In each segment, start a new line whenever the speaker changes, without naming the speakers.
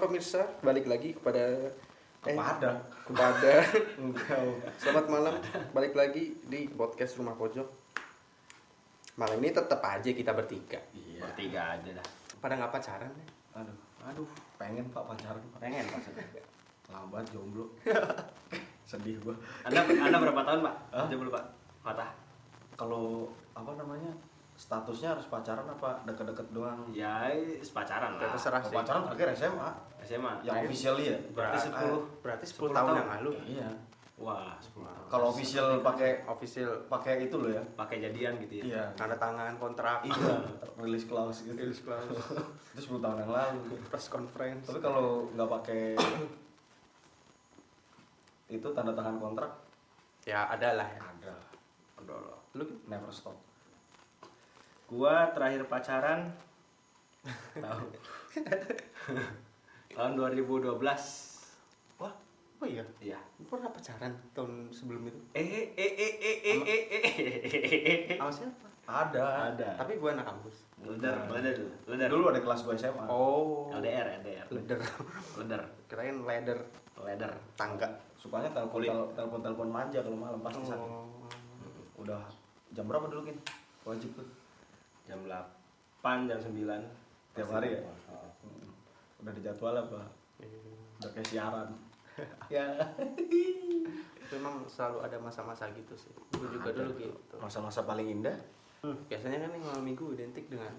pemirsa, balik lagi kepada Eh,
Kepada.
kepada
Enggak.
selamat malam, balik lagi di podcast Rumah Pojok. Malam ini tetap aja kita bertiga.
Iya.
Bertiga aja dah.
Pada nggak pacaran ya?
Aduh, aduh, pengen Pak pacaran, Pak.
Pengen maksudnya.
Lambat jomblo. Sedih gua.
Anda Anda berapa tahun, Pak? Aja belum, Pak. Patah.
Kalau apa namanya? Statusnya harus pacaran apa deket-deket doang?
Ya, sepacaran lah.
Terserah
Kalau
sih.
pacaran terakhir SMA.
SMA.
Yang officially ya?
Berarti
Ah,
10.
Berarti
10
10, tahun,
tahun.
yang lalu.
Iya.
Wah, 10 tahun.
Kalau official pakai
Official
pakai itu loh ya.
Pakai jadian gitu ya.
Iya.
tanda tangan kontrak,
Iya, rilis clause gitu.
Rilis clause.
itu 10 tahun yang lalu.
press conference.
Tapi kalau nggak pakai itu tanda tangan kontrak
Ya ada lah ya.
ada lah.
Udah lah.
Lu kan?
never stop
Gua terakhir pacaran tahun tahun 2012.
wah, oh iya.
Iya.
Lu pernah pacaran tahun sebelum itu?
Eh eh eh eh eh eh eh, eh.
Sama siapa?
ada
Ada.
Tapi gue anak kampus.
Leder, leder, leder.
dulu ada kelas gue SMA
Iya. Oh.
LDR, LDR.
Leder.
Leder,
Kirain ladder
leder.
tangga.
sukanya telepon
Kulit.
tel- telepon telepon manja kalau malam
Oh.
pasti sakit udah jam berapa dulu kin wajib tuh
Jam 8, jam 9.
Tiap hari ya?
Oh.
udah dijadwal apa
Iya.
udah kayak siaran ya
Memang selalu ada masa-masa gitu sih. Gue juga
Ada.
dulu gitu.
masa-masa paling indah
Biasanya kan nih malam minggu identik dengan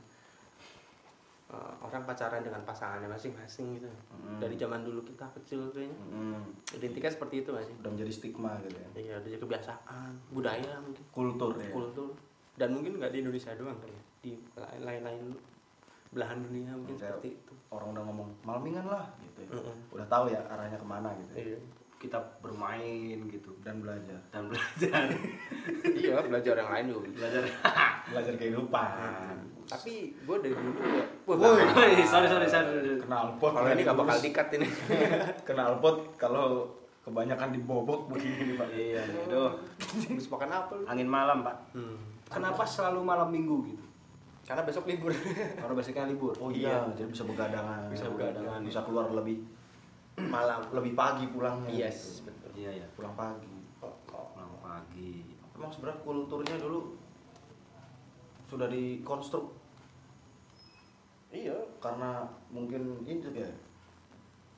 eh, orang pacaran dengan pasangannya masing-masing gitu.
Hmm.
Dari zaman dulu kita kecil kayaknya.
Mm,
Identiknya seperti itu masih.
udah menjadi stigma gitu ya
Iya, udah jadi kebiasaan, budaya mungkin,
kultur ya
kultur. Dan mungkin nggak di Indonesia doang kali ya. Di lain-lain belahan dunia mungkin
Kayak
seperti itu.
orang udah ngomong malmingan lah gitu ya.
Mm-mm.
udah tahu ya arahnya kemana gitu ya.
Iya.
Kita bermain gitu
dan belajar
dan belajar.
iya, belajar yang lain juga.
belajar.
belajar kehidupan
Tapi gue dari dulu ya.
Woi, Iya, sorry sorry sorry.
kenal pot
Kalau ini nggak bakal dikat ini.
kenal pot kalau kebanyakan dibobok begini pak
Iya, aduh.
Habis makan apa lu?
Angin malam, Pak.
Hmm.
Kenapa selalu malam Minggu gitu?
Karena besok libur.
Karena basicnya libur.
oh iya jadi bisa begadangan
Bisa begadangan.
iya.
bisa keluar lebih malam lebih pagi pulangnya
yes,
gitu.
betul.
Iya, iya.
pulang pagi
Pulang pagi.
emang sebenarnya kulturnya dulu sudah dikonstruk
Iya.
karena mungkin itu ya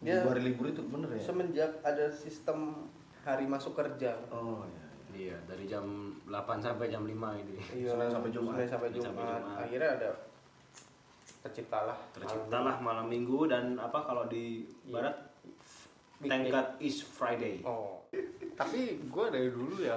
Ya.
Dua hari libur itu bener ya
Semenjak ada sistem hari masuk kerja.
oh iya
Iya, dari jam 8 sampai jam 5 ini.
Senin sampai Jumat.
Senin
Iya. Senin sampai
sampai
Jumat.
Jumat.
Akhirnya ada terciptalah.
Terciptalah malam Minggu dan apa kalau di
Iya.
barat Thank God is Friday.
Oh. Tapi gue dari dulu ya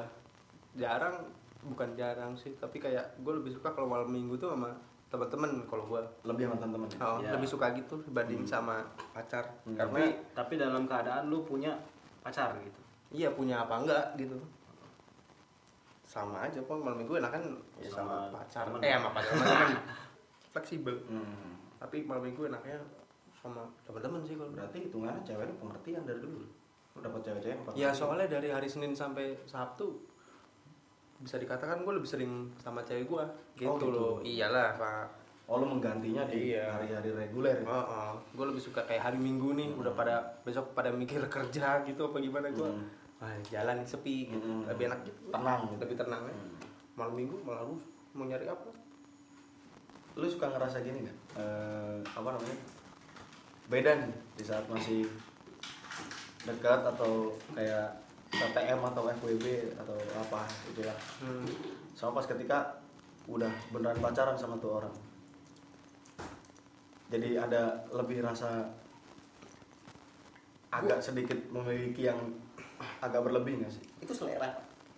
jarang bukan jarang sih tapi kayak gue lebih suka kalau malam minggu tuh sama teman-teman kalau gue
lebih sama teman-teman ya?
Oh,
Ya.
lebih suka gitu dibanding sama pacar
Hmm.
karena
Tapi tapi dalam keadaan lu punya pacar gitu.
iya punya apa enggak gitu sama aja pun malam minggu enakan ya
Sama
sama, pacar
temen.
eh sama pacar sama temen. fleksibel
Hmm.
tapi malam minggu enaknya sama teman-teman sih kalau
berarti hitungannya ceweknya pengertian dari dulu lu dapat cewek-cewek yang
ya
pengertian.
soalnya dari hari senin sampai sabtu bisa dikatakan gue lebih sering sama cewek gue gitu,
Oh, gitu.
loh iyalah pak
oh lu menggantinya di
Iya.
hari-hari reguler ya?
Oh, oh. gue lebih suka kayak hari minggu nih udah pada besok pada mikir kerja gitu apa gimana gue
Hmm.
Wah, jalan sepi gitu
Hmm.
lebih enak gitu
Tenang gitu.
lebih tenang ya
Hmm.
malam minggu malah lu mau nyari apa
lu suka ngerasa gini nggak Eh, apa namanya beda nih di saat masih dekat atau kayak KTM atau FWB atau apa gitu ya sama pas ketika udah beneran pacaran sama tuh orang jadi ada lebih rasa agak sedikit memiliki yang agak berlebih nggak sih
itu selera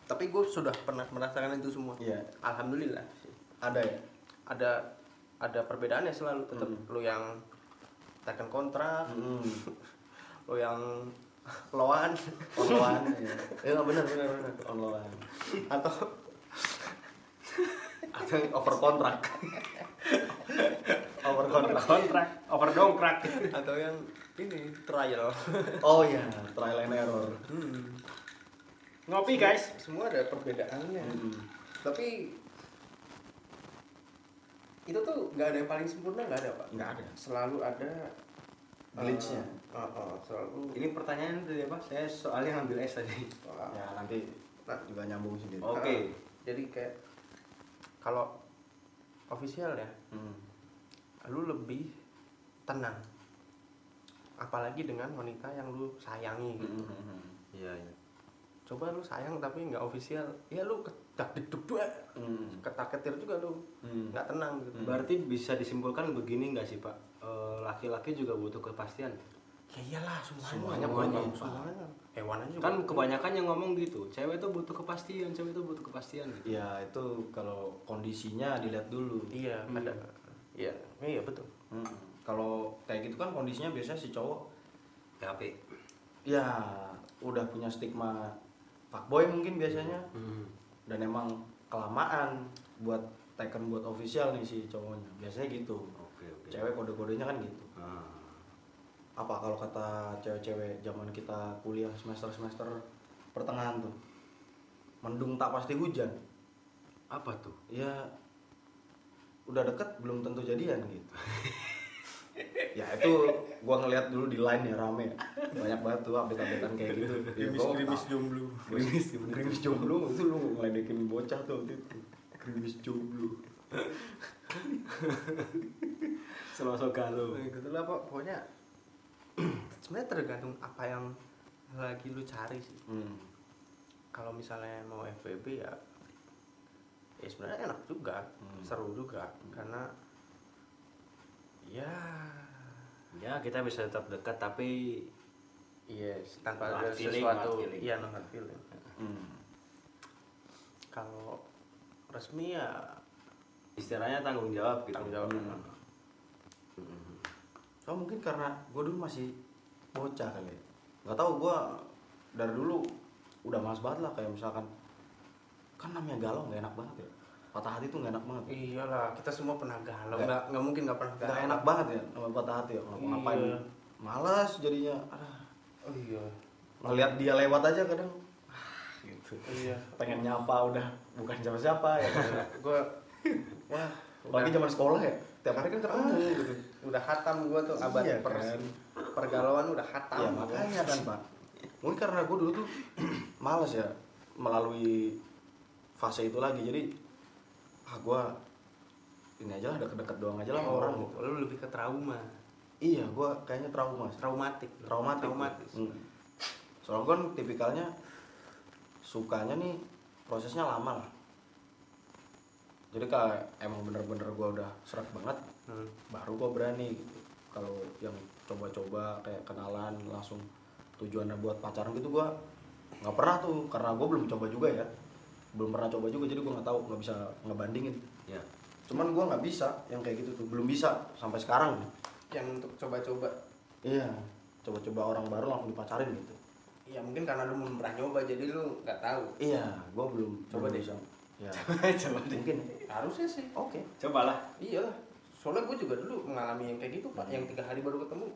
tapi gue sudah pernah merasakan itu semua
Iya.
alhamdulillah
ada ya
ada ada perbedaannya selalu tetap
Hmm.
lu yang tekan kontrak
hmm.
lu yang loan
online ya ya nggak benar benar benar online
atau
atau yang over kontrak over
Kontrak, kontrak, over dongkrak.
atau yang ini trial
oh iya trial and error
Hmm.
Ngopi guys.
semua ada perbedaannya
Mm.
tapi itu tuh nggak ada yang paling sempurna nggak ada pak
nggak ada
selalu ada
Glitch-nya.
eh, Oh, oh, selalu
Ini pertanyaan tadi apa? Saya soalnya ngambil S tadi. Ah.
Wah.
ya nanti juga nyambung sendiri
Oke.
Nah, jadi kayak kalau official ya
Hmm.
lu lebih tenang apalagi dengan wanita yang lu sayangi gitu.
Hmm, hmm, hmm.
Iya, iya.
coba lu sayang tapi nggak official ya lu ketak dikduk dua
Hmm.
ketar ketir juga lu
Hmm.
nggak tenang gitu
Berarti bisa disimpulkan begini nggak sih Pak? Eh, Laki-laki juga butuh kepastian.
ya iyalah semuanya
Semuanya,
banyak
Pak.
semuanya hewan aja juga.
Kan kebanyakan yang ngomong gitu. Cewek itu butuh kepastian, cewek itu butuh kepastian. gitu.
ya itu kalau kondisinya dilihat dulu
iya ada iya iya betul
Hmm. kalau kayak gitu kan kondisinya biasanya si cowok
HP.
ya udah punya stigma fuckboy mungkin biasanya
Hmm.
dan emang kelamaan buat taken buat official nih si cowoknya biasanya gitu
Oke, oke.
cewek kode-kodenya kan gitu
Ah.
apa kalau kata cewek-cewek zaman kita kuliah semester-semester pertengahan tuh mendung tak pasti hujan
Apa tuh?
ya udah deket belum tentu jadian gitu ya itu gua ngeliat dulu di line ya rame banyak banget tuh update-updatean kayak gitu Ya, gua tak-
jomblo
gerimis gerimis jomblo itu lu ngeledekin bocah tuh waktu itu gerimis jomblo
Selosok galau.
gitu lah Pak. pokoknya sebenarnya tergantung apa yang lagi lu cari sih
hmm.
kalau misalnya mau FBB ya ya sebenarnya enak juga
Hmm.
seru juga karena ya
Ya, kita bisa tetap dekat tapi
yes iya, tanpa
Not
ada
feeling,
sesuatu
not feeling.
iya no hard feeling
Hmm.
kalau resmi ya
istilahnya tanggung jawab gitu.
tanggung jawab
Hmm. Oh mungkin karena gue dulu masih bocah kali ya. Gak tau gue dari dulu udah males banget lah kayak misalkan kan namanya galau nggak enak banget ya patah hati tuh nggak enak banget
iyalah kita semua pernah galau
Nggak-
nggak nggak mungkin nggak pernah
nggak enak banget ya namanya patah hati ya ngapa ngapain
Iya.
males jadinya Aduh,
oh, iya
ngelihat dia lewat aja kadang gitu
iya
pengen nyapa udah bukan siapa siapa ya
gue wah
apalagi zaman sekolah ya tiap hari kan ketemu gitu
udah hatam gue tuh abad
Iya,
per
kan?
pergalauan udah hatam
ya
gua.
makanya kan pak mungkin karena gue dulu tuh males ya melalui fase itu lagi jadi ah gue ini aja lah deket-deket doang aja lah sama
Oh.
orang gitu
lu Iya, lebih ke trauma
iya gue kayaknya trauma sih.
traumatik
traumatik
traumatis
Hmm. soalnya gue tipikalnya sukanya nih prosesnya lama lah jadi kalau emang bener-bener gue udah serak banget
Hmm.
baru gue berani gitu kalau yang coba-coba kayak kenalan langsung tujuannya buat pacaran gitu gue nggak pernah tuh karena gue belum coba juga ya belum pernah coba juga jadi gue nggak tahu nggak bisa ngebandingin
Ya.
cuman gue nggak bisa yang kayak gitu tuh belum bisa sampai sekarang
yang untuk coba-coba
iya coba-coba orang baru langsung dipacarin gitu
ya mungkin karena lu belum pernah nyoba jadi lu nggak tahu
iya gue belum
Coba
belum
deh.
bisa. ya
Coba deh.
mungkin
harusnya sih
oke
Cobalah.
iyalah soalnya gue juga dulu mengalami yang kayak gitu pak yang tiga hari baru ketemu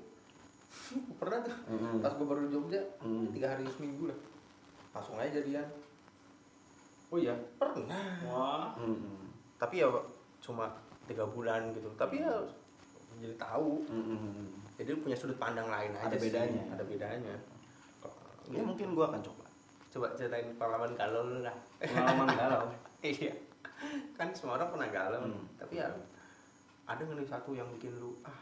pernah tuh
Mm-mm.
pas gue baru di Jogja
Mm.
tiga hari seminggu lah langsung aja jadian
Oh iya.
pernah
Wah.
Mm-mm.
tapi ya Pak, cuma tiga bulan gitu tapi ya jadi tahu
Mm-mm.
jadi punya sudut pandang lain aja
Ada
sih.
bedanya.
ada bedanya
ya mungkin gue akan coba
coba ceritain pengalaman galau lu lah
Pengalaman galau.
iya kan semua orang pernah galau
Hmm.
tapi ya ada nggak nih satu yang bikin lu ah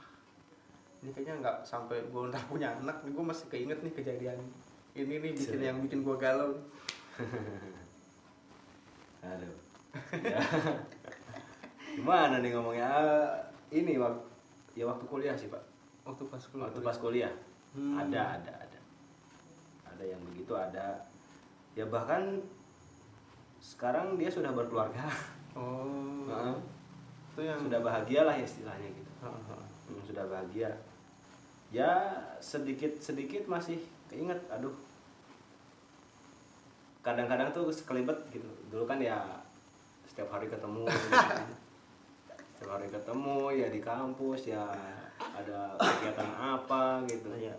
ini kayaknya nggak sampai gue ntar punya anak nih gue masih keinget nih kejadian ini nih bikin
Sering.
yang bikin gue galau
Aduh. Ya. Gimana nih ngomongnya? Ah, Ini waktu ya waktu kuliah sih, Pak.
waktu pas kuliah
Waktu pas kuliah.
Hmm.
Ada, ada, ada. Ada yang begitu, ada. Ya bahkan sekarang dia sudah berkeluarga.
oh
Heeh.
itu yang
Sudah bahagia lah istilahnya gitu.
Heeh.
Hmm, sudah bahagia ya sedikit sedikit masih keinget aduh kadang-kadang tuh sekelibet gitu dulu kan ya setiap hari ketemu gitu kan. setiap hari ketemu ya di kampus ya ada kegiatan apa gitu
Iya.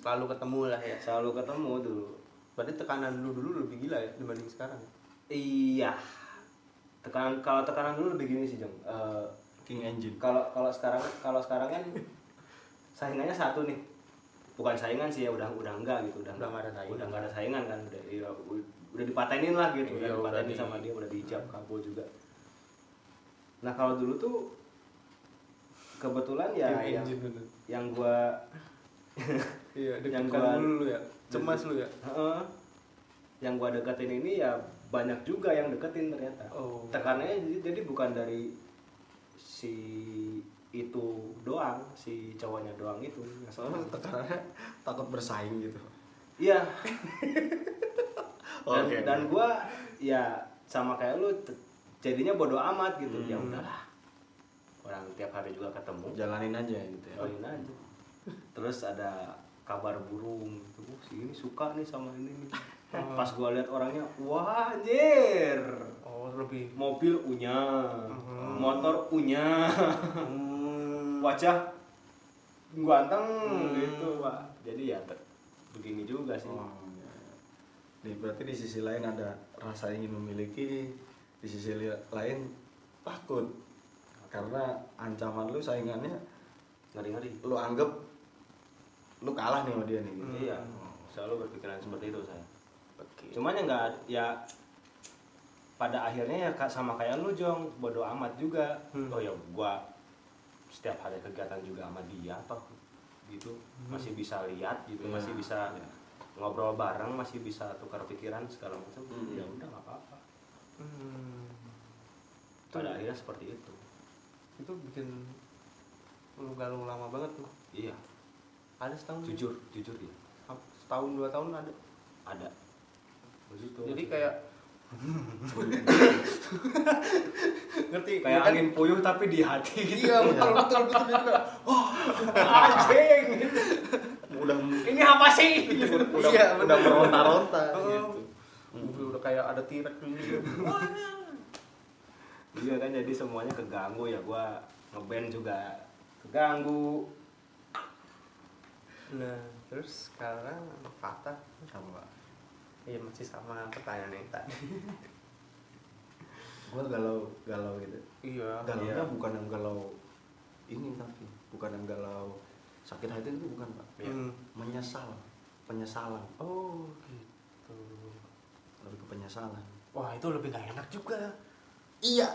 selalu ketemu lah ya
selalu ketemu dulu
berarti tekanan lu dulu lebih gila ya dibanding sekarang
iya tekanan kalau tekanan dulu lebih gini sih jeng Eh,
king engine
kalau kalau sekarang kalau sekarang kan saingannya satu nih bukan saingan sih ya udah udah enggak gitu udah
Udah nggak ada saingan.
udah nggak ada saingan kan udah ya, u- udah dipatenin lah gitu udah
Iya, udah
dipatenin
di-
sama dia udah dihijab kabel juga nah kalau dulu tuh kebetulan ya
Game
yang,
engine bener.
yang gua
Iya,
Yang
deg-degan
gua-
dulu lu ya. Cemas lu ya.
Heeh. yang gua deketin ini ya banyak juga yang deketin ternyata
Oh.
tekanannya jadi, jadi bukan dari si itu doang si cowoknya doang itu soalnya
Tekanannya takut bersaing gitu.
iya
Oke. Oh,
dan, dan gue ya sama kayak lu t- jadinya bodoh amat gitu ya udahlah orang tiap hari juga ketemu
jalanin aja gitu ya.
jalanin aja terus ada kabar burung gitu oh, si ini suka nih sama ini nih pas gue lihat orangnya wah anjir
Oh, lebih.
mobil punya motor punya wajah ganteng gitu pak jadi ya te- begini juga sih
Oh, iya, iya. Di- berarti di sisi lain ada rasa ingin memiliki, di sisi li- lain takut karena ancaman lu saingannya
ngeri-ngeri
lu anggap lu kalah nih sama dia nih. gitu.
Iya, selalu berpikiran seperti itu saya. Cuman ya nggak, ya pada akhirnya ya ka- sama kayak lu jong bodoh amat juga.
Hmm.
Oh ya gua setiap hari kegiatan juga sama dia apa gitu
Hmm.
masih bisa lihat
Ya,
gitu
Iya,
masih bisa
iya.
ngobrol bareng masih bisa tukar pikiran segala macam
Hmm.
ya udah nggak apa-apa
Hmm.
pada akhirnya seperti itu
Itu bikin lu galau lama banget tuh.
iya
Hmm. Ada setahun.
jujur jujur ya
Ap- Setahun dua tahun ada.
ada Begitu.
Jadi kayak ngerti
kayak
ya kan?
angin puyuh tapi di hati gitu
Iya, betul betul betul betul. betul.
anjing
Udah
ini apa sih
udah,
Iya,
udah
bener.
meronta-ronta
Oh.
gitu.
Mobil udah kayak ada tirek gitu.
Iya kan jadi semuanya keganggu ya gua ngeband juga keganggu.
Nah, terus sekarang patah
Apa?
Iya masih sama pertanyaan yang tadi.
Gua galau-galau gitu.
Iya.
Galaunya bukan yang galau ini tapi bukan yang galau sakit hati itu bukan pak.
Iya.
Hmm.
Menyesal, penyesalan
Oh gitu.
lebih ke penyesalan.
Wah itu lebih gak enak juga.
Iya.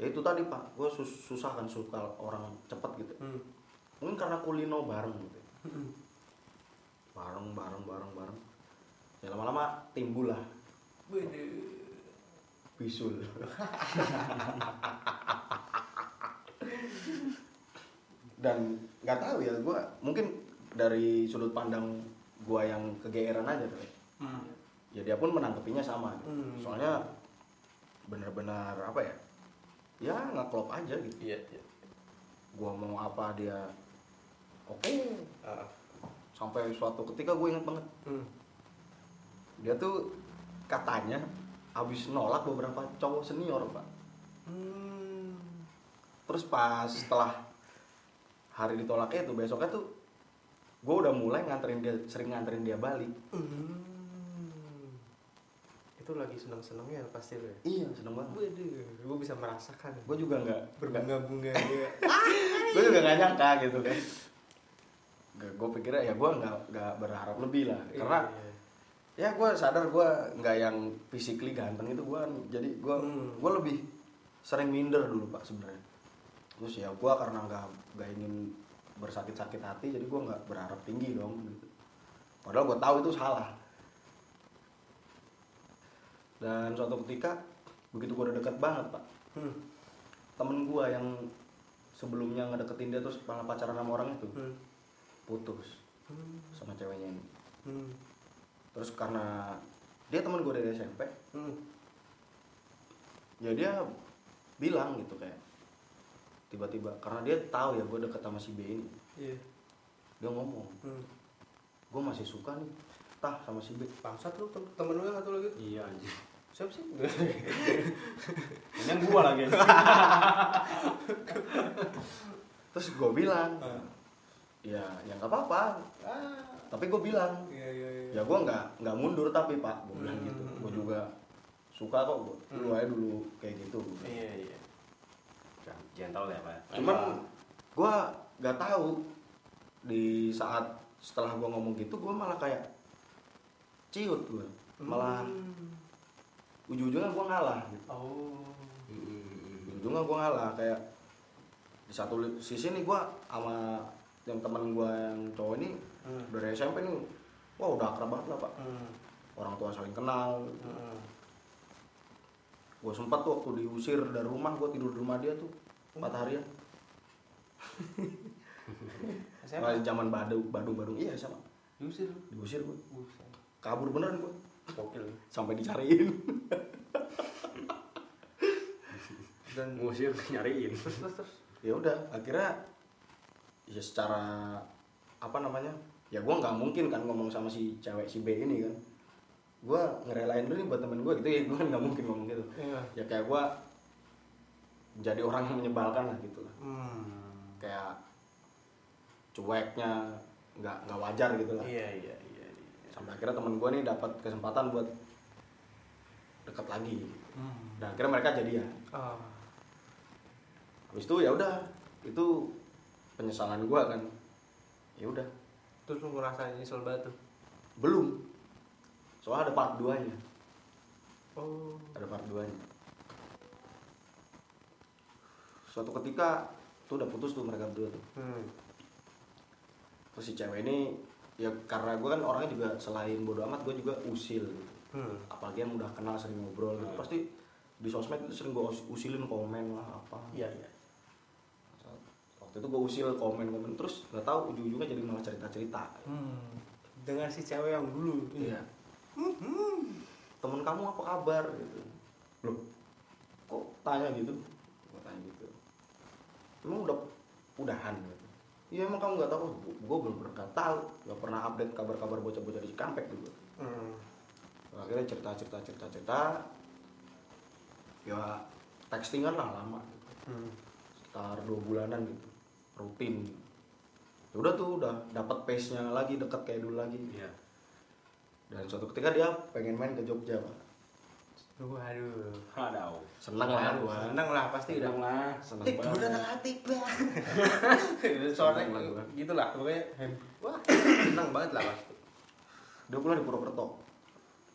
Ya itu tadi pak, gue susah kan suka orang cepet gitu.
Hmm.
Mungkin karena kulino bareng gitu. Bareng, bareng, bareng, bareng. Ya lama-lama timbul lah
Hmm.
bisul. Dan nggak tahu ya gue, mungkin dari sudut pandang gue yang kegeeran aja kali.
Hmm.
ya dia pun menanggapinya sama gitu.
Hmm.
soalnya benar-benar apa ya ya nggak klop aja gitu
Iya iya.
gua mau apa dia oke
Ah,
sampai suatu ketika gue inget banget
Hmm.
dia tuh katanya habis nolak beberapa cowok senior pak
Hmm.
terus pas setelah hari ditolaknya itu besoknya tuh gue udah mulai nganterin dia sering nganterin dia balik
Hmm. Itu lagi senang senangnya pasti lo ya.
iya seneng banget
Waduh, gue bisa merasakan.
gue juga nggak nggak-
berbunga-bunga ya.
gue juga gak nyangka gitu kan gue pikirnya ya gue nggak nggak berharap lebih lah karena
Iya.
ya gue sadar gue nggak yang physically ganteng itu gue jadi
Iya.
gue
Hmm.
gua lebih sering minder dulu pak sebenarnya terus ya gue karena nggak nggak ingin bersakit-sakit hati jadi gue nggak berharap tinggi dong gitu padahal gue tahu itu salah dan suatu ketika begitu gue udah deket banget pak
Hmm.
temen gue yang sebelumnya ngedeketin dia terus malah pacaran sama orang itu
Hmm.
putus sama ceweknya ini
Hmm.
terus karena dia temen gue dari SMP
Hmm.
ya dia bilang gitu kayak tiba-tiba karena dia tahu ya gue deket sama si B ini
Iya.
dia ngomong
Hmm.
gue masih suka nih tah sama si B
Bangsat lu tem- temen lu yang satu lagi.
Iya anjir.
Siapa sih?
Ini yang gua lagi.
terus gue bilang
Ah.
ya ya nggak apa-apa
Ah.
tapi gue bilang
Iya iya iya.
ya gue nggak nggak mundur tapi pak gue bilang gitu gue juga suka kok gue dulu aja dulu kayak gitu gua bilang.
Iya iya. Gentle ya, Pak.
cuman gue nggak tahu di saat setelah gue ngomong gitu gue malah kayak ciut gue
Hmm.
malah ujung-ujungnya gue ngalah gitu.
Oh.
ujungnya gue ngalah kayak di satu li- sisi nih gue sama yang temen gue yang cowok ini
Hmm.
dari SMP nih wah udah akrab banget lah pak
Hmm.
orang tua saling kenal
Hmm.
gue sempat tuh waktu diusir dari rumah gue tidur di rumah dia tuh empat ya. harian
SMA?
Nah, zaman Badung Badung Badung iya sama
Diusir lu.
diusir gue
Buset.
kabur beneran gue
Gokil.
sampai dicariin
Dan
Musir nyariin.
terus terus terus.
ya udah akhirnya ya secara apa namanya ya gue nggak mungkin kan ngomong sama si cewek si B ini kan gue ngerelain dulu nih buat temen gue gitu ya gue nggak mungkin ngomong gitu
Iya.
ya kayak gue jadi orang yang menyebalkan lah gitu lah
Hmm.
kayak cueknya nggak nggak wajar gitu lah
Iya iya iya. iya.
sampai akhirnya temen gue nih dapat kesempatan buat deket lagi
Hmm.
dan akhirnya mereka jadian
Ah.
habis itu ya udah itu penyesalan gue kan ya udah
Terus lu ngerasain nyesel banget tuh.
belum soalnya ada part 2 nya
Oh.
ada part 2 nya suatu ketika tuh udah putus tuh mereka berdua tuh
Hmm.
terus si cewek ini ya karena gue kan orangnya juga selain bodo amat gue juga usil gitu.
Hmm.
apalagi yang udah kenal sering ngobrol gitu pasti di sosmed itu sering gue usilin komen lah apa
Iya, iya.
waktu itu gue usil komen komen terus nggak tahu ujung-ujungnya jadi malah cerita cerita
Hmm. Dengan si cewek yang dulu.
Iya. Temen kamu apa kabar gitu. Loh. Kok tanya gitu? Gua tanya gitu. Emang udah udahan gitu. Iya emang kamu nggak tahu? Gue belum pernah nggak tahu, nggak pernah update kabar-kabar bocah-bocah di Cikampek gitu.
Hmm.
Akhirnya cerita cerita cerita cerita, ya textingan lah lama, gitu.
Hmm.
sekitar dua bulanan gitu, rutin. Ya udah tuh udah dapat pace nya lagi deket kayak dulu lagi.
Iya.
Dan suatu ketika dia pengen main ke Jogja pak.
Waduh.
Aduh.
Seneng lah gua.
Seneng lah pasti udah.
Seneng lah.
Seneng
Tik,
banget.
udah tengah tik lah. Soalnya
Seneng lah gua.
gitu lah, pokoknya happy. Wah, seneng banget lah pasti.
Dia pulang di Purwokerto.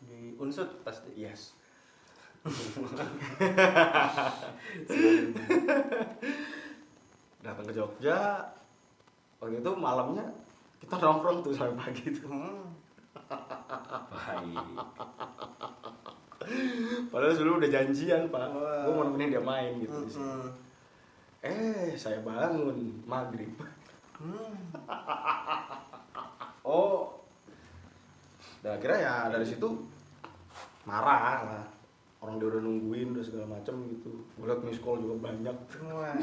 Di unsut pasti.
Yes. Datang ke Jogja. Waktu itu malamnya kita nongkrong tuh sampai pagi tuh.
Hmm.
Baik.
Padahal sebelum udah janjian pak.
Wah.
Gue mau nemenin dia main gitu. di sini.
Hmm.
Eh saya bangun maghrib.
Hmm.
Oh. Dan akhirnya ya dari situ marah lah. Orang dia udah nungguin udah segala macam gitu. Gue liat miss call juga banyak.
Wah.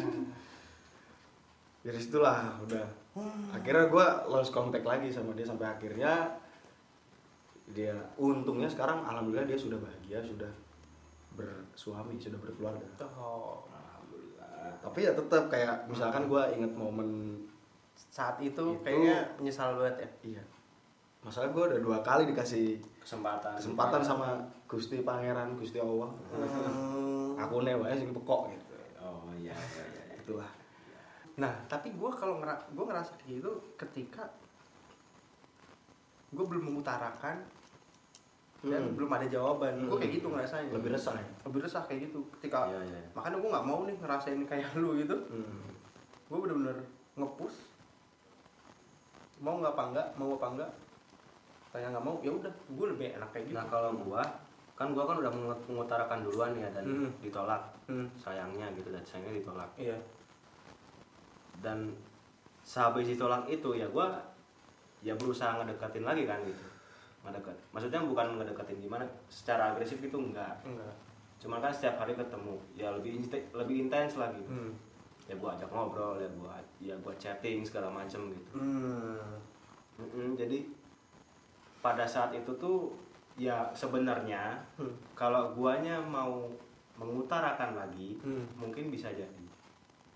Dari situlah udah.
Hmm.
Akhirnya gue lost contact lagi sama dia sampai akhirnya dia untungnya sekarang alhamdulillah dia sudah bahagia sudah bersuami sudah berkeluarga.
Oh.
Tapi ya tetap kayak misalkan gue inget momen
Saat itu,
Itu-
kayaknya menyesal banget ya.
iya. Masalah gue udah dua kali dikasih
Kesempatan.
kesempatan sama Gusti Pangeran Gusti Allah
Hmm.
aku newanya sing pekok gitu
Oh iya iya iya. iya.
itulah
Nah, tapi gue kalau ngera gue ngerasa kayak gitu ketika gue belum mengutarakan dan
Hmm.
belum ada jawaban. Gue kayak gitu ngerasanya.
lebih resah ya
Lebih resah kayak gitu. Ketika
Iya, iya.
makanya gue nggak mau nih ngerasain kayak lu gitu.
hmm.
Gue bener-bener ngepus. Mau nggak apa enggak, mau apa enggak. Tanya nggak mau, ya udah. Gue lebih enak kayak gitu.
Nah kalau gua kan gua kan udah mengut- mengutarakan duluan ya dan
Hmm.
ditolak
Hmm.
sayangnya gitu dan sayangnya ditolak
Iya.
dan sehabis ditolak itu ya gua ya berusaha ngedeketin lagi kan gitu ngedeket maksudnya bukan ngedeketin gimana secara agresif itu enggak
Enggak.
cuman kan setiap hari ketemu ya lebih inte- lebih intens lagi
Hmm.
ya gua ajak ngobrol ya gua ya gua chatting segala macem gitu
Hmm.
Mm-mm, jadi pada saat itu tuh ya sebenarnya
Hmm.
kalau guanya mau mengutarakan lagi
Hmm.
mungkin bisa jadi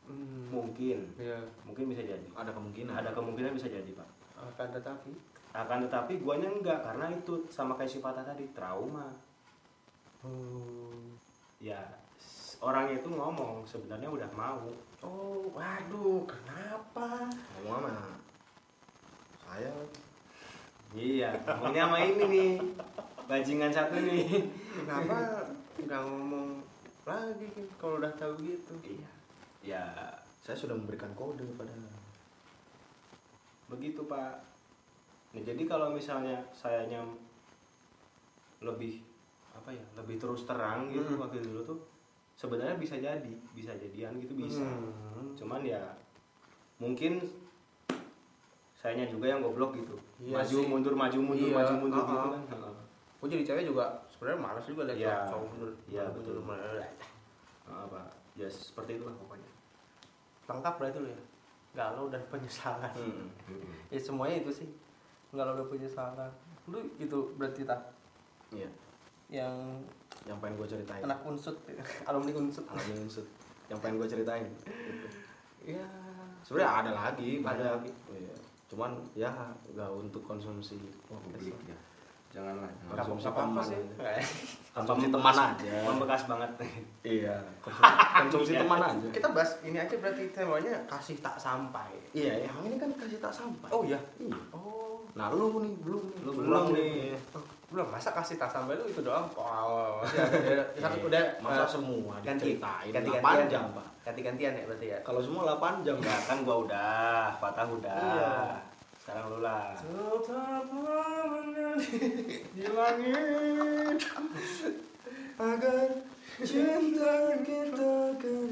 Hmm.
mungkin
Iya.
mungkin bisa jadi
ada kemungkinan
ada kemungkinan bisa jadi pak
Akan tetapi.
akan tetapi guanya enggak karena itu sama kayak si patah tadi trauma
Hmm.
ya s- orangnya itu ngomong sebenarnya udah mau
Oh, waduh, kenapa?
ngomong sama Ayah.
Iya, ngomongnya sama ini nih. Bajingan satu nih.
Kenapa nggak ngomong lagi Kim, kalau udah tahu gitu?
Iya. Ya,
Saya sudah memberikan kode pada
begitu, Pak. Nah, jadi kalau misalnya sayanya lebih apa ya, lebih terus terang gitu
Hmm.
waktu dulu tuh sebenarnya bisa jadi, bisa jadian gitu bisa.
Hmm.
Cuman ya mungkin sayanya juga yang goblok gitu.
Iya
maju
sih.
mundur maju mundur
Iya,
maju mundur
uh-uh.
gitu kan. Heeh.
Gue jadi cewek juga sebenarnya malas juga lihat
Iya.
cowok mundur.
Iya,
mundur,
betul.
mundur.
Heeh, Pak. Ya seperti itulah pokoknya.
Lengkap berarti lo ya. Hmm. Galau dan penyesalan.
Hmm.
Hmm.
Ya semuanya itu sih. Galau dan penyesalan. Lu gitu berarti tak
Iya.
yang
Yang pengen gue ceritain.
anak unsut, alumni unsut.
Alami unsut. Yang pengen gue ceritain.
Iya.
Sebenarnya ada
Ada
lagi. banyak.
lagi.
Iya. Cuman ya nggak untuk konsumsi Oh, Iya. publik.
Publik ya. Janganlah.
Nggak
jangan.
Langsung
apa apa
teman
sih.
Konsumsi teman aja.
Membekas banget.
Iya. Konsumsi, konsumsi teman aja.
Kita bahas ini aja berarti temanya kasih tak sampai.
Iya, yang ini kan kasih tak sampai.
Oh iya.
Iya.
Oh.
Nah lu nih belum nih.
Lu belum nih.
Belum masa kasih tak sampai lu itu doang. Oh. Ya, ya, ya. Satu udah
masa
eh,
semua
ganti
diceritain
ganti
8 jam pak.
ganti-gantian ya berarti ya
Kalau semua 8 jam
Enggak kan gua udah, Fatah udah.
Iya.
Sekarang lu lah.
di langit agar cinta kita kan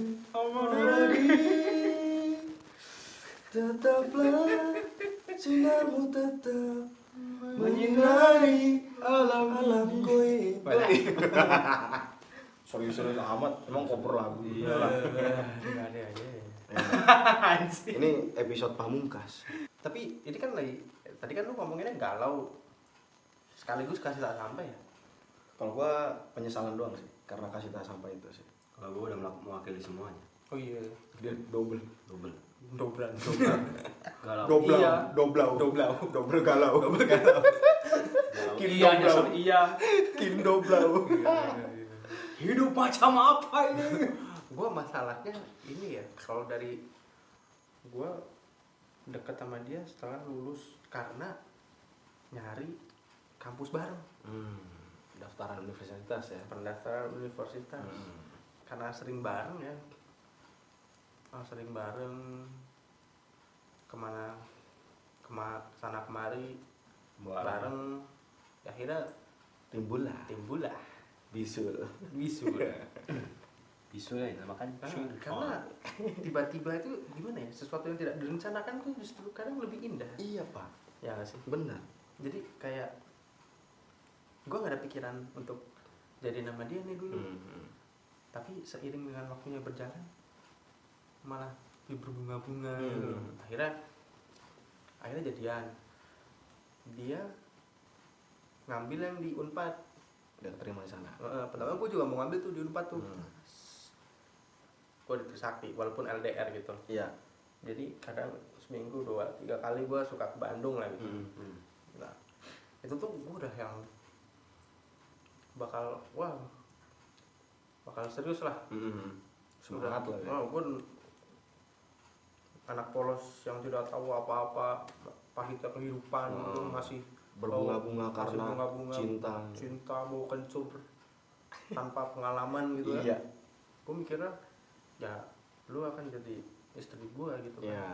tetaplah sinarmu tetap menyinari alam alam gue
serius-serius amat emang koper lagu.
Anjing.
Ini episode pamungkas.
tapi ini kan lagi tadi kan lu ngomonginnya galau sekaligus kasih tak sampai ya
Kalau gua penyesalan doang sih karena kasih tak sampai itu sih.
Kalau gua udah melak- mewakili semuanya.
oh iya
Dia double.
Double.
dobran dobran
Galau.
Doblau,
Iya. doblau, doblau, dobel galau, dobel galau,
Galau.
Kin
Iya,
double.
nyesel iya.
kin doblau.
Hidup macam apa ini?
gue masalahnya ini ya kalau dari gue deket sama dia setelah lulus karena nyari kampus baru
Hmm, daftaran universitas ya.
pendaftaran universitas
Hmm.
karena sering bareng ya Ah, sering bareng kemana kema sana kemari
Bareng.
bareng Ya, akhirnya
Timbul lah,
timbul lah
bisul.
bisu
Bisu ya, makan
Karena- Iya.
Oh.
karena tiba-tiba itu gimana ya sesuatu yang tidak direncanakan tuh justru kadang lebih indah
Iya pak,
ya nggak sih
benar.
jadi kayak gue nggak ada pikiran untuk jadi nama dia nih
Hmm,
dulu tapi seiring dengan waktunya berjalan malah dia berbunga-bunga
Hmm.
gitu. akhirnya akhirnya jadian dia ngambil yang di unpad
Udah terima di sana.
Eh, pertama gue juga mau ngambil tuh di unpad tuh
Hmm.
gue di Trisakti walaupun LDR gitu
Iya.
jadi kadang seminggu dua tiga kali gue suka ke Bandung lah gitu
hmm,
Nah, itu tuh gue udah yang bakal wah bakal serius lah.
Hmm. Semangat lah. ya.
gue anak polos yang tidak tahu apa-apa pahitnya kehidupan
Hmm.
itu masih
Berbunga-bunga
Masih
karena
bunga-bunga.
cinta.
Oh, cinta bau kencur tanpa pengalaman gitu ya.
Iya.
Gue mikirnya ya lu akan jadi istri gue gitu kan.
Iya.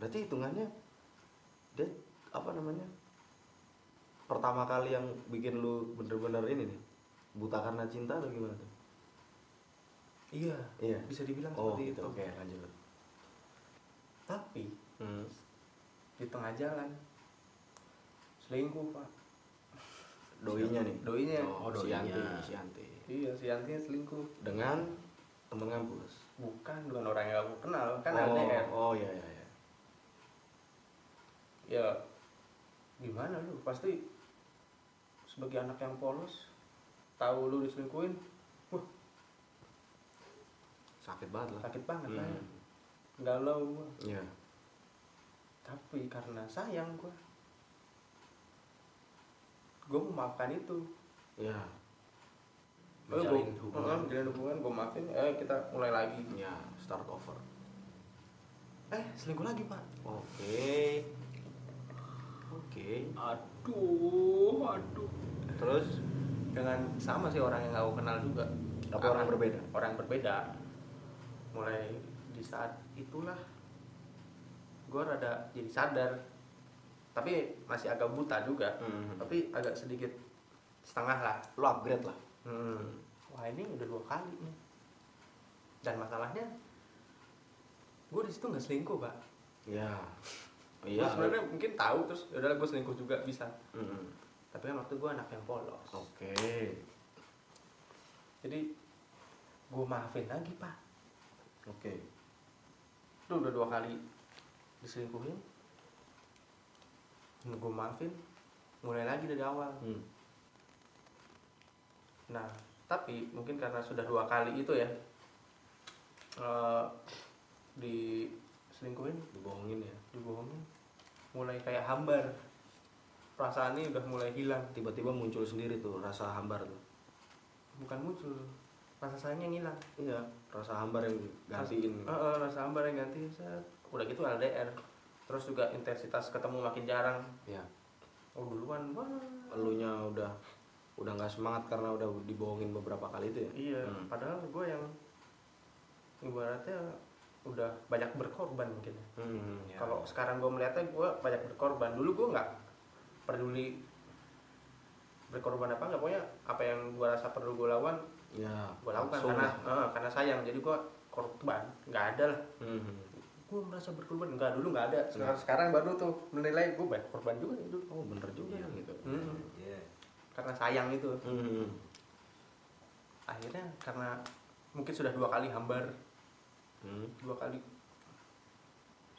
Berarti hitungannya dia apa namanya? Pertama kali yang bikin lu bener-bener ini nih buta karena cinta atau gimana tuh?
Iya.
Iya.
Bisa dibilang
Oh
seperti itu.
gitu. Oke lanjut.
Tapi
Hmm.
di tengah jalan selingkuh pak.
Doinya nih.
Doinya.
Oh,
Oh, si Yanti,
doinya.
si Yanti.
Iya, si Yanti selingkuh.
Dengan temen kampus.
Bukan dengan orang yang aku kenal, kan
oh,
LDR.
Oh iya iya iya.
Ya gimana lu? Pasti sebagai anak yang polos tahu lu diselingkuhin, wah
Sakit banget lah.
sakit banget lah.
Hmm.
Galau gua.
Iya.
Tapi karena sayang gua gue memaafkan itu
Iya.
Eh, gua-
Menjalin hubungan.
Eh, menjalin hubungan gue maafin eh kita mulai lagi
Iya, start over.
eh selingkuh lagi pak
Oke. Oke.
Aduh, aduh.
terus dengan sama sih orang yang aku kenal juga
Tapi orang berbeda?
orang berbeda mulai di saat itulah gue rada jadi sadar tapi masih agak buta juga
Hmm.
tapi agak sedikit setengah lah
Lo upgrade lah.
Hmm. Wah ini udah dua kali nih. Dan masalahnya, gue di situ nggak selingkuh pak.
Ya.
Iya.
Iya.
sebenarnya mungkin tahu terus, udah gue selingkuh juga bisa.
Mm.
Tapi kan waktu gue anak yang polos.
Oke.
Jadi gue maafin lagi pak.
Oke.
Lu udah dua kali diselingkuhin. Gue maafin, mulai lagi dari awal.
Hmm.
Nah, tapi mungkin karena sudah dua kali itu ya eh diselingkuhin,
Dibohongin ya.
dibohongin mulai kayak hambar perasaan ini udah mulai hilang
Tiba-tiba muncul sendiri tuh rasa hambar tuh.
bukan muncul rasa sayang yang hilang
Iya. Rasa hambar yang gantiin.
rasa, eh, eh, rasa hambar yang ganti set. udah gitu LDR terus juga intensitas ketemu makin jarang
Iya.
oh duluan wah
Elunya udah udah nggak semangat karena udah dibohongin beberapa kali itu ya.
iya
Hmm.
padahal gue yang ibaratnya udah banyak berkorban mungkin ya.
Hmm, ya.
kalau sekarang gue melihatnya gue banyak berkorban dulu gue nggak peduli berkorban apa nggak pokoknya apa yang gue rasa perlu gue lawan
ya
gue lakukan
langsung
karena
lah.
eh, karena sayang jadi gue korban nggak ada lah
Hmm.
gue merasa berkorban nggak dulu nggak ada sekarang Nah, sekarang baru tuh menilai gue banyak korban juga nih dulu
Oh bener juga
Iya.
gitu.
Hmm.
Iya.
karena sayang itu
Hmm.
akhirnya karena mungkin sudah dua kali hambar
Hmm.
dua kali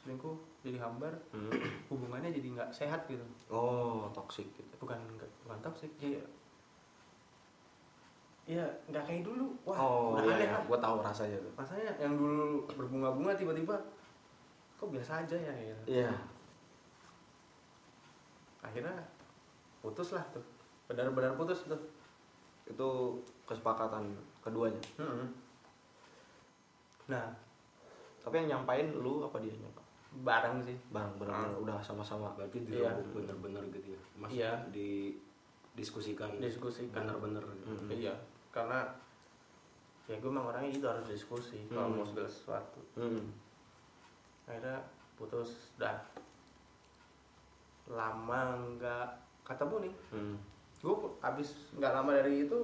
selingkuh jadi hambar
Hmm.
hubungannya jadi nggak sehat gitu Eh,
Oh toxic gitu.
bukan nggak bukan toxic iya. jadi ya nggak kayak dulu wah
oh
udah aneh
iya, iya.
lah
gue tahu rasanya tuh.
rasanya yang dulu berbunga-bunga tiba-tiba kok biasa aja ya gitu.
Iya.
akhirnya putus lah tuh benar-benar putus tuh
Itu kesepakatan keduanya.
Hmm. nah
Tapi yang nyampain lu apa dia nyampa?
bareng sih
Bang benar udah sama-sama.
Berarti di
Iya.
bener-bener gitu ya. Mas
Iya.
di diskusikan
Diskusikan.
bener-bener.
Hmm.
iya karena ya gue emang orangnya itu harus diskusi kalau
Hmm.
mau segala sesuatu
Hmm.
akhirnya putus dah lama nggak ketemu nih
Hmm.
gue abis nggak lama dari itu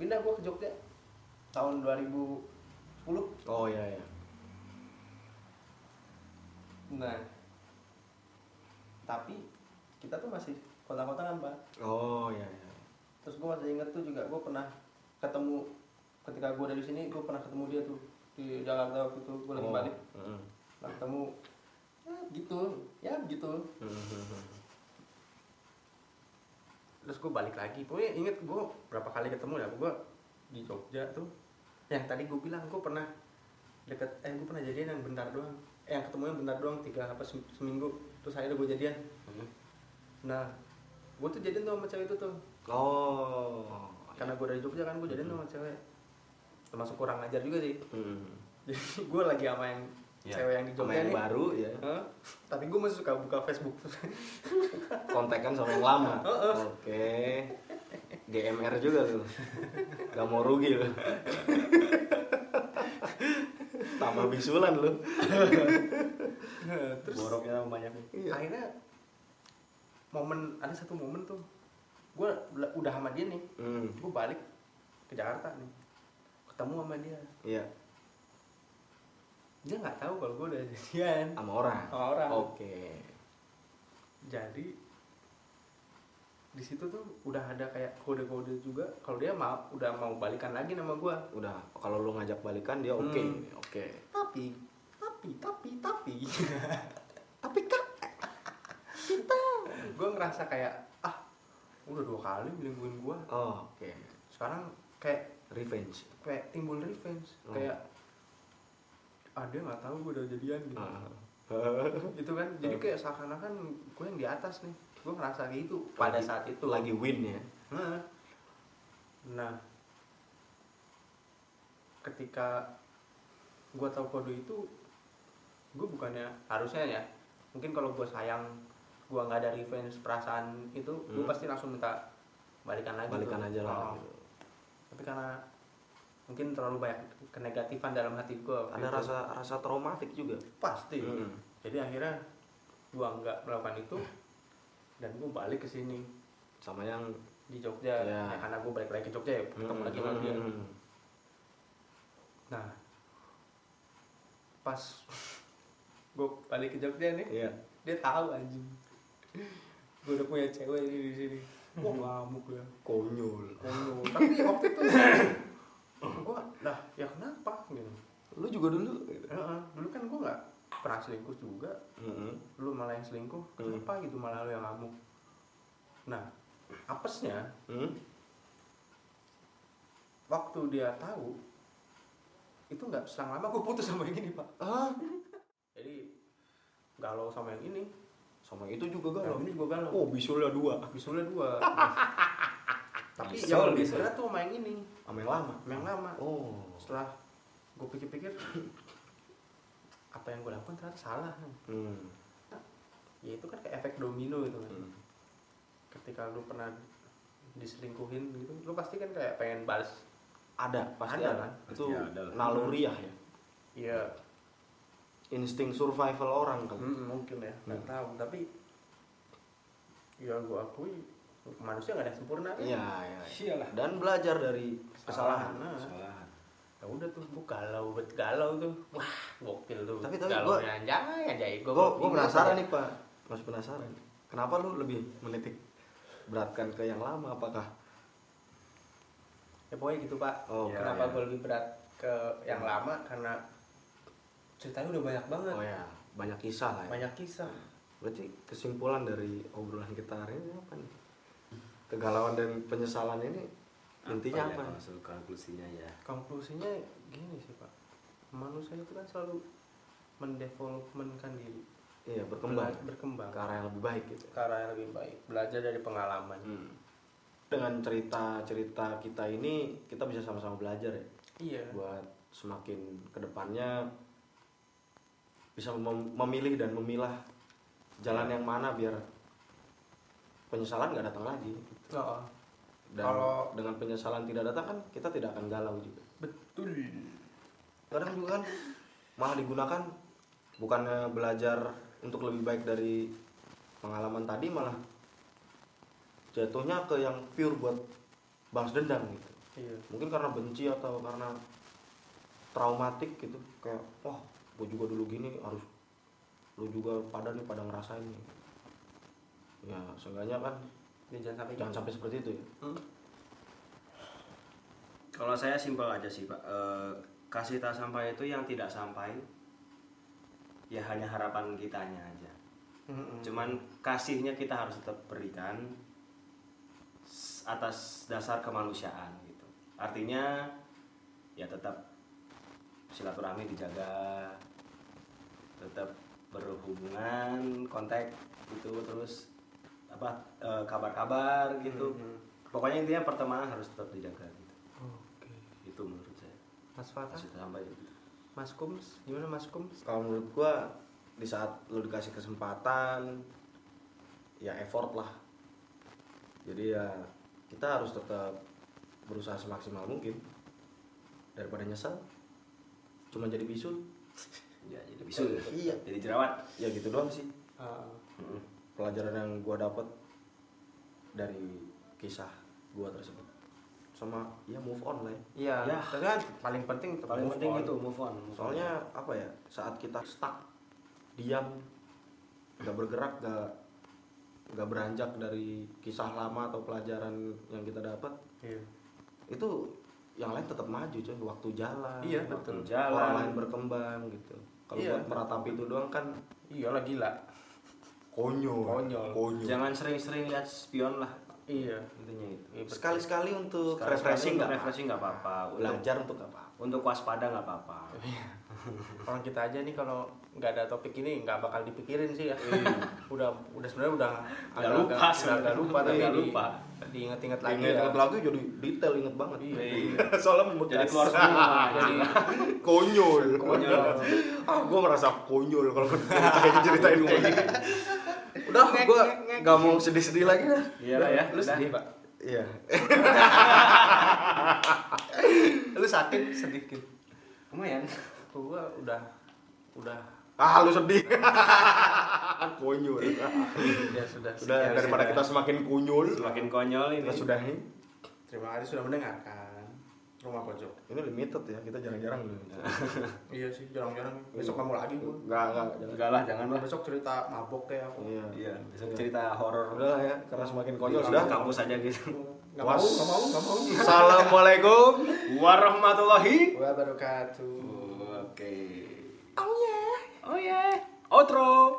pindah gue ke Jogja tahun 2010
Oh iya iya.
Nah, tapi kita tuh masih kontak-kontakan pak.
Oh iya iya.
Terus gue masih inget tuh juga gue pernah ketemu ketika gue dari sini gue pernah ketemu dia tuh di Jakarta waktu itu gue lagi
Oh.
balik
Hmm.
nah, ketemu ya gitu ya gitu
Hmm, hmm, hmm.
terus gue balik lagi pokoknya inget gue berapa kali ketemu ya gue di Jogja tuh yang tadi gue bilang gue pernah deket eh gue pernah jadian yang bentar doang eh, yang ketemunya bentar doang tiga apa sem- seminggu terus akhirnya gue jadian
Hmm.
nah gue tuh jadian tuh sama cewek itu tuh
Iya. Oh.
karena gue dari Jogja kan gue jadian sama cewek termasuk kurang ajar juga sih
Hmm.
jadi gue lagi sama yang
Ya,
cewek yang di
sama
Jogja
yang
nih
baru ya.
Hah? tapi gue masih suka buka Facebook
kontekan sama yang lama.
Heeh.
Oke. GMR juga tuh. Gak mau rugi lu. Tambah bisulan lu.
terus
Boroknya banyak.
Iya.
akhirnya momen ada satu momen tuh gue udah sama dia nih
Hmm.
gue balik ke Jakarta nih ketemu sama dia
Iya,
dia nggak tahu kalau gue udah jadian
sama orang.
Sama orang.
Oke.
jadi di situ tuh udah ada kayak kode-kode juga kalau dia mau udah mau balikan lagi sama gue
Udah, kalau lu ngajak balikan dia oke.
Hmm.
Oke.
tapi tapi tapi tapi tapi kak kita gue ngerasa kayak ah udah dua kali ngelingkuin gue
Oh, oke.
sekarang kayak
Revenge.
kayak timbul revenge
Hmm.
kayak ah dia nggak tahu gue udah jadian gitu
Heeh.
gitu kan jadi kayak seakan-akan gue yang di atas nih gue ngerasa kayak gitu pada
Lagi-
saat itu
lagi win ya.
Heeh. Hmm. nah ketika gue tahu kode itu gue bukannya harusnya ya mungkin kalau gue sayang gue nggak ada revenge perasaan itu gue
Hmm.
pasti langsung minta balikan lagi
balikan
tuh.
aja lah gitu.
Oh. tapi karena mungkin terlalu banyak kenegatifan dalam hati gue
ada rasa Eh, rasa traumatik juga
pasti
Mm.
jadi akhirnya gue nggak melakukan itu dan gue balik ke sini
sama yang
di Jogja
Iya.
ya, karena gue balik lagi ke Jogja ya ketemu lagi sama dia
Mm.
nah pas gue balik ke Jogja nih
Iya.
dia tahu anjing gue udah punya cewek ini di sini wah ngamuk ya
Konyol.
konyol tapi waktu itu gue lah ya kenapa gitu
Lu juga dulu gitu.
Heeh, dulu kan gue nggak pernah selingkuh juga
Mm-mm.
lu malah yang selingkuh kenapa gitu malah lu yang ngamuk nah apesnya
Mm.
waktu dia tahu itu nggak selang lama gue putus sama yang ini pak jadi galau sama yang ini
sama itu juga
galau
galau
ini juga galau
Oh, bisulnya dua.
bisulnya dua tapi
Bisel,
yang lebih
bisel.
berat tuh sama yang ini
sama yang lama
sama yang lama
oh
setelah gue pikir-pikir apa yang gue lakukan ternyata salah kan?
Mm.
ya itu kan kayak efek domino gitu kan
Mm.
ketika lu pernah diselingkuhin gitu lu pasti kan kayak pengen balas
ada pasti
Ada,
ada,
kan?
itu
Pasti ada lah.
naluriah ya
iya
insting survival orang kan
Mm, mungkin ya nggak tahu tapi yang gue akui manusia nggak ada yang sempurna kan?
iya iya
Sialah.
dan belajar dari
kesalahan
kesalahan
nah.
Ah.
Kesalahan.
ya udah tuh gue galau bet galau tuh wah gokil tuh
Tapi- tapi
galau
gua-
yang jangan ya, aja gue
gue gue penasaran nih pak masih penasaran kenapa lu lebih menitik beratkan ke yang lama apakah
ya pokoknya gitu pak
Oh,
Ya,
iya,
kenapa
iya.
gue lebih berat ke yang lama karena ceritanya udah banyak banget
oh ya banyak kisah lah ya
banyak kisah
berarti kesimpulan dari obrolan kita hari ini apa nih kegalauan dan penyesalan ini intinya apa,
ya, maksud konklusinya ya?
konklusinya gini sih pak manusia itu kan selalu mendevelopmentkan diri
iya berkembang
Bela- berkembang
ke arah yang lebih baik gitu
ke arah yang lebih baik belajar dari pengalaman
Hmm. dengan cerita cerita kita ini kita bisa sama-sama belajar ya
iya
buat semakin kedepannya bisa mem- memilih dan memilah jalan yang mana biar penyesalan nggak datang lagi
Oh,
dan
Kalau-
dengan penyesalan tidak datang kan kita tidak akan galau juga
betul
kadang juga kan malah digunakan bukannya belajar untuk lebih baik dari pengalaman tadi malah jatuhnya ke yang pure buat balas dendam gitu
iya
mungkin karena benci atau karena traumatik gitu kayak wah gue juga dulu gini harus lu juga pada nih pada ngerasain nih ya seenggaknya kan
Ya, jangan sampai Hmm.
jangan sampai seperti itu ya
Kalau saya simpel aja sih pak, Eh, kasih tak sampai itu yang tidak sampai, ya hanya harapan kitanya aja.
Hmm,
Cuman kasihnya kita harus tetap berikan s- atas dasar kemanusiaan gitu. Artinya ya tetap silaturahmi dijaga, tetap berhubungan, kontak gitu terus apa eh, kabar-kabar gitu.
Mm-hmm.
Pokoknya intinya pertemanan harus tetap dijaga gitu.
oke
Itu menurut saya.
mas Fatah
Kasih tak sampai gitu.
mas Kums gimana mas Kums
kalau menurut gua di saat lu dikasih kesempatan ya effort lah jadi ya kita harus tetap berusaha semaksimal mungkin daripada nyesel cuma jadi bisul
Ya jadi bisul.
Iya.
Jadi jerawat.
ya gitu doang sih
Ah,
Mm-mm.
pelajaran yang gua dapat dari kisah gua tersebut sama ya move on lah ya.
iya
Ya.
tapi kan paling penting tetap
Paling
move
penting
on.
itu move on. move on.
soalnya apa ya saat kita stuck diam nggak bergerak nggak nggak beranjak dari kisah lama atau pelajaran yang kita dapat
iya
itu yang lain tetap maju coy waktu jalan
Iya,
waktu
betul.
orang
jalan.
lain berkembang gitu kalau
Iya.
buat meratapi itu doang kan
iyalah gila
konyol
Konyol.
Jangan sering-sering lihat spion lah.
iya
Intinya itu.
Iya, betul.
sekali-sekali untuk
Sekarang sekarang
refreshing nggak
untuk refreshing nggak apa-apa. Untuk,
belajar untuk apa
untuk waspada nggak apa-apa.
orang kita aja nih kalau nggak ada topik ini nggak bakal dipikirin sih ya udah udah sebenarnya udah agak-
lupa
agak-
sebenarnya.
udah lupa tapi
Udah
di-
lupa.
diinget-inget lagi
Ingat
ya.
ingat lagi jadi detail inget banget.
Iya.
Soalnya
Jadi
membekas.
keluar semua. Jadi
konyol.
Konyol.
ah, gue merasa konyol kalau ceritain ceritain kayak gini. Udah, gue gak mau sedih-sedih lagi lah.
Iyalah ya,
lu
udah.
sedih pak
Iya.
lu sakit sedih gitu
lumayan
gua udah udah
Ah, lu sedih. konyol.
ya sudah
Udah
sekian.
daripada kita semakin konyol,
semakin konyol ini
kita sudahi.
terima kasih sudah mendengarkan rumah pojok
Ini limited ya, kita jarang-jarang nih.
iya Iya. sih jarang-jarang besok kamu lagi gua
Enggak, enggak.
enggak lah jangan lah
besok cerita mabok kayak aku
Iya.
iya besok cerita horor
Udah lah ya, karena semakin konyol
Di
sudah.
kampus aja gitu
nggak mau
Was.
nggak mau nggak mau
Assalamualaikum.
warahmatullahi
wabarakatuh
oke oh ya oh ya outro